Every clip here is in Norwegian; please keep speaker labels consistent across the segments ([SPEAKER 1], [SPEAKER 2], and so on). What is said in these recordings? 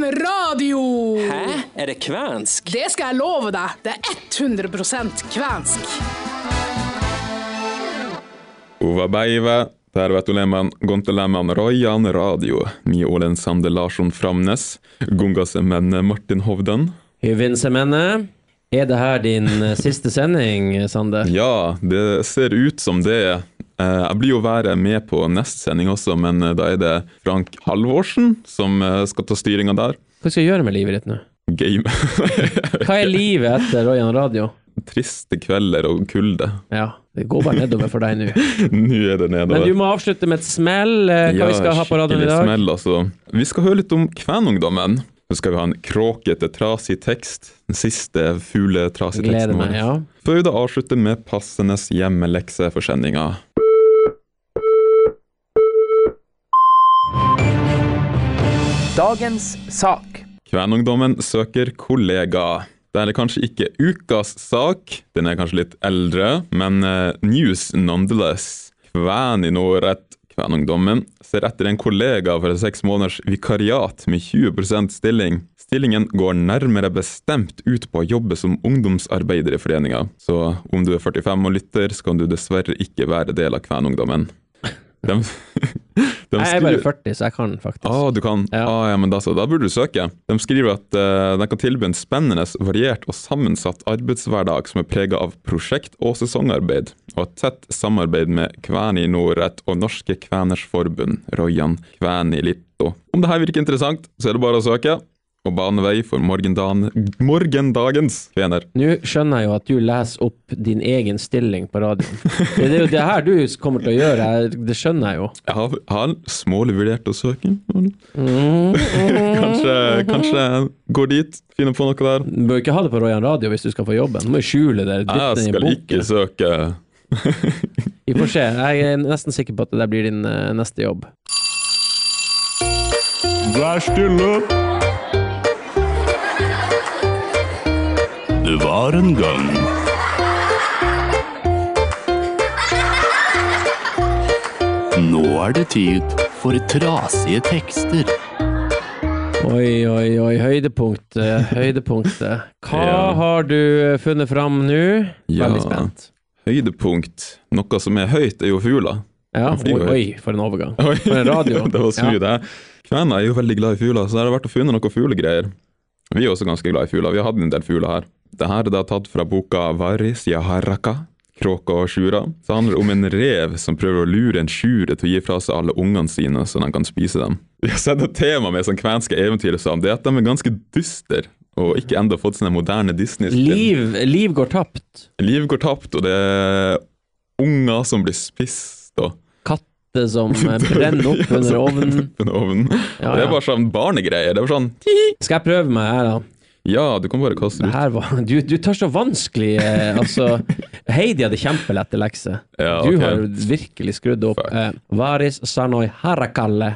[SPEAKER 1] radio!
[SPEAKER 2] Hæ? Er det kvensk?
[SPEAKER 1] Det skal jeg love deg. Det er 100 kvensk.
[SPEAKER 3] Uva Beive, tervetuleman Gontoleman Rojan Radio, Mie Olen Sande Larsson Framnes, Gungasemenne Martin Hovden.
[SPEAKER 4] Hyvin Semene, er det her din eh, siste sending, Sander?
[SPEAKER 3] Ja, det ser ut som det. er. Eh, Jeg blir jo være med på neste sending også, men eh, da er det Frank Halvorsen som eh, skal ta styringa der.
[SPEAKER 4] Hva skal du gjøre med livet ditt nå?
[SPEAKER 3] Game.
[SPEAKER 4] Hva er livet etter Royan Radio?
[SPEAKER 3] Triste kvelder og kulde.
[SPEAKER 4] Ja, det går bare nedover for deg nå.
[SPEAKER 3] Nå er det
[SPEAKER 4] Men
[SPEAKER 3] nedover.
[SPEAKER 4] du må avslutte med et smell, eh, hva vi skal ha på radioen i
[SPEAKER 3] skikkelig
[SPEAKER 4] dag.
[SPEAKER 3] Smell, altså. Vi skal høre litt om kvenungdommen. Så skal vi ha en kråkete, trasig tekst. Den siste fugletrasige
[SPEAKER 4] Gleder
[SPEAKER 3] teksten
[SPEAKER 4] meg, ja.
[SPEAKER 3] Før vi da avslutter med passende hjemmelekse for sendinga.
[SPEAKER 5] Dagens sak.
[SPEAKER 3] Kvenungdommen søker kollega. Det er kanskje ikke ukas sak, den er kanskje litt eldre, men eh, news nonetheless. Kven i Norrett, kvenungdommen, ser etter en kollega for et seks måneders vikariat med 20 stilling. Stillingen går nærmere bestemt ut på å jobbe som ungdomsarbeider i foreninga, så om du er 45 og lytter, så kan du dessverre ikke være del av kvenungdommen. De, de
[SPEAKER 4] Jeg er bare
[SPEAKER 3] skriver-
[SPEAKER 4] 40, så jeg kan faktisk.
[SPEAKER 3] Ah, du kan.
[SPEAKER 4] Ja.
[SPEAKER 3] Ah, ja, men da, så, da burde du søke. De skriver at eh, de kan tilby en spennende, variert og sammensatt arbeidshverdag som er prega av prosjekt- og sesongarbeid, og et tett samarbeid med Kveni Nordrett og Norske Kveners Forbund, Rojan Kveni Litto. Om det her virker interessant, så er det bare å søke, og bane vei for morgendagen, morgendagens kvener.
[SPEAKER 4] Nå skjønner jeg jo at du leser opp din egen stilling på radioen. Det er jo det her du kommer til å gjøre, jeg- det skjønner jeg jo.
[SPEAKER 3] Jeg har, har smålig vurdert å søke. kanskje, kanskje går dit, finner på noe der.
[SPEAKER 4] Du bør ikke ha det på Royan Radio hvis du skal få jobben. Du må jo skjule det.
[SPEAKER 3] Jeg
[SPEAKER 4] dytte det i en
[SPEAKER 3] skal
[SPEAKER 4] bunke.
[SPEAKER 3] ikke søke.
[SPEAKER 4] Vi får se. Jeg er nesten sikker på at det der blir din eh, neste jobb.
[SPEAKER 6] Vær stille! Det var en gang. Nå er det tid for trasige tekster.
[SPEAKER 4] Oi, oi, oi. Høydepunktet. Høydepunktet. Hva
[SPEAKER 3] Ja.
[SPEAKER 4] har du eh, funnet fram nå?
[SPEAKER 3] Ja.
[SPEAKER 4] Veldig spent.
[SPEAKER 3] Høydepunkt. Noe som er høyt, er jo fugler.
[SPEAKER 4] Ja,
[SPEAKER 3] Den flyr
[SPEAKER 4] oi,
[SPEAKER 3] jo
[SPEAKER 4] oi, for en overgang. For en radio.
[SPEAKER 3] det var smooth, det. Kvener er jo veldig glad i fugler, så det har vært å finne noen fuglegreier. Vi er også ganske glad i fugler. Vi har hatt en del fugler her. Dette er da tatt fra boka Varis Jaharaka, Kråka og Sjura. Det handler om en rev som prøver å lure en sjure til å gi fra seg alle ungene sine, så de kan spise dem. Vi har sett et tema med sånn kvenske eventyr og sånn, det er at de er ganske dyster, og ikke enda fått sånn en moderne Disney-film.
[SPEAKER 4] Liv, liv går tapt.
[SPEAKER 3] Liv går tapt, og det er unger som blir spist, og
[SPEAKER 4] Katter som eh, brenner opp under ovnen.
[SPEAKER 3] på en ovn.
[SPEAKER 4] Ja,
[SPEAKER 3] Og Det
[SPEAKER 4] ja.
[SPEAKER 3] er bare sånn barnegreier. Det er bare sånn
[SPEAKER 4] Skal jeg prøve meg her, da?
[SPEAKER 3] Ja, du kan bare kaste det
[SPEAKER 4] Det
[SPEAKER 3] ut.
[SPEAKER 4] her var, du, du tar så vanskelig eh, Altså, Heidi hadde kjempelette lekser.
[SPEAKER 3] Ja,
[SPEAKER 4] Du
[SPEAKER 3] ok.
[SPEAKER 4] har virkelig skrudd opp.
[SPEAKER 3] Fuck.
[SPEAKER 4] Eh, varis sanoi harakalle.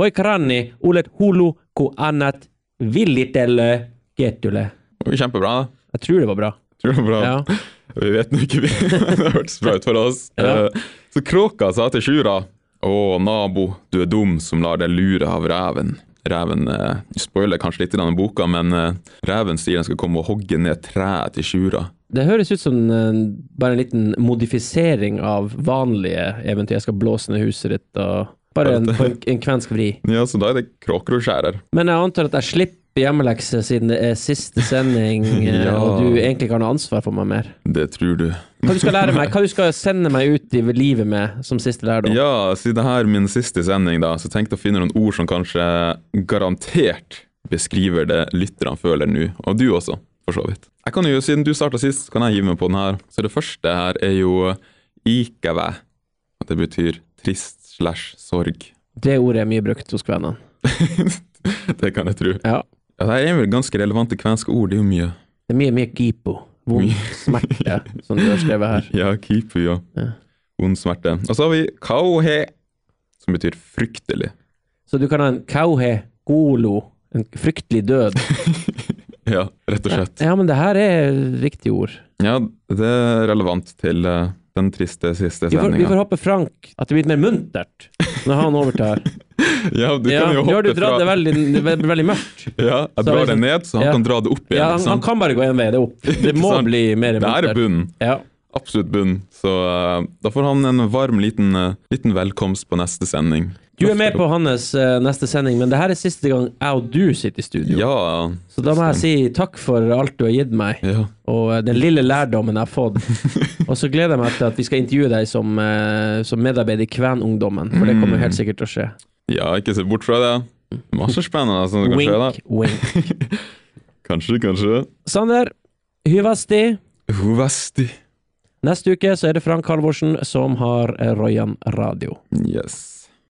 [SPEAKER 4] Voi kranni ulet hulu ku annat villitelle getule.
[SPEAKER 3] Det var Kjempebra.
[SPEAKER 4] Jeg tror det var bra.
[SPEAKER 3] Tror det var bra.
[SPEAKER 4] Ja.
[SPEAKER 3] Vi vet nå ikke, vi. det hørtes bra ut for oss.
[SPEAKER 4] Ja.
[SPEAKER 3] Eh, Så kråka sa til sjura Å, nabo, du er dum som lar deg lure av reven. Reven eh, spoiler kanskje litt i denne boka, men eh, reven sier den skal komme og hogge ned treet til sjura.
[SPEAKER 4] Det høres ut som eh, bare en liten modifisering av vanlige eventyr. Jeg skal blåse ned huset ditt og Bare en, på en, en kvensk vri.
[SPEAKER 3] Ja, så da er det kråker og skjærer.
[SPEAKER 4] Men jeg antar at jeg slipper hjemmelekse siden det er siste sending, eh,
[SPEAKER 3] Ja.
[SPEAKER 4] og du egentlig ikke har noe ansvar for meg mer.
[SPEAKER 3] Det tror du.
[SPEAKER 4] Hva du skal lære meg, hva du skal sende meg ut i livet med som siste lærdom?
[SPEAKER 3] Ja, siden det her er min siste sending, da, så tenkte jeg å finne noen ord som kanskje garantert beskriver det lytterne føler nå, og du også, for så vidt. Jeg kan jo, Siden du starta sist, kan jeg hive meg på den her. Så det første her er jo ikeve. og Det betyr trist slash sorg.
[SPEAKER 4] Det ordet er mye brukt hos kvenene.
[SPEAKER 3] det kan jeg tro.
[SPEAKER 4] Ja.
[SPEAKER 3] Ja, det er vel ganske relevante kvenske ord, det er jo mye.
[SPEAKER 4] Det er mye, mye gipo. Vond smerte, som du har skrevet her.
[SPEAKER 3] Ja, kipu, ja.
[SPEAKER 4] Ja.
[SPEAKER 3] Vond smerte. Og så har vi kauhe, som betyr fryktelig.
[SPEAKER 4] Så du kan ha en kauhe golo, en fryktelig død.
[SPEAKER 3] Ja, rett og slett.
[SPEAKER 4] Ja, men det her er riktige ord.
[SPEAKER 3] Ja, det er relevant til eh, den triste siste
[SPEAKER 4] Vi får, vi får
[SPEAKER 3] sendinga.
[SPEAKER 4] håpe Frank at det blir litt mer muntert når han overtar.
[SPEAKER 3] Ja, du
[SPEAKER 4] Ja,
[SPEAKER 3] kan jo
[SPEAKER 4] nå har
[SPEAKER 3] hoppe
[SPEAKER 4] du dratt det
[SPEAKER 3] fra
[SPEAKER 4] veldig, det ble veldig mørkt.
[SPEAKER 3] Ja, jeg
[SPEAKER 4] Så
[SPEAKER 3] drar
[SPEAKER 4] liksom-
[SPEAKER 3] det ned, så han
[SPEAKER 4] Ja.
[SPEAKER 3] kan dra det opp igjen.
[SPEAKER 4] Ja, han, han kan bare gå én vei, det er opp. Det
[SPEAKER 3] Ikke
[SPEAKER 4] må
[SPEAKER 3] sant?
[SPEAKER 4] bli mer
[SPEAKER 3] Det her
[SPEAKER 4] mørkt
[SPEAKER 3] er
[SPEAKER 4] der.
[SPEAKER 3] bunnen.
[SPEAKER 4] Ja.
[SPEAKER 3] Absolutt bunnen. Så eh, da får han en varm liten, eh, liten velkomst på neste sending.
[SPEAKER 4] Du er med på hans eh, neste sending, men det her er siste gang jeg og du sitter i studio.
[SPEAKER 3] Ja.
[SPEAKER 4] Så da må jeg si takk for alt du har gitt meg,
[SPEAKER 3] ja.
[SPEAKER 4] og eh, den lille lærdommen jeg har fått. Og så gleder jeg meg til at vi skal intervjue deg som, eh, som medarbeider i Kvenungdommen, for
[SPEAKER 3] Mm.
[SPEAKER 4] det kommer helt sikkert til å skje.
[SPEAKER 3] Ja, ikke se bort fra det. Masse spennende som kan skje,
[SPEAKER 4] Wink,
[SPEAKER 3] da.
[SPEAKER 4] wink.
[SPEAKER 3] Kanskje, kanskje.
[SPEAKER 4] Sander, hyvasti.
[SPEAKER 3] Hovesti.
[SPEAKER 4] Neste uke så er det Frank Halvorsen som har eh, Royan Radio.
[SPEAKER 3] Yes.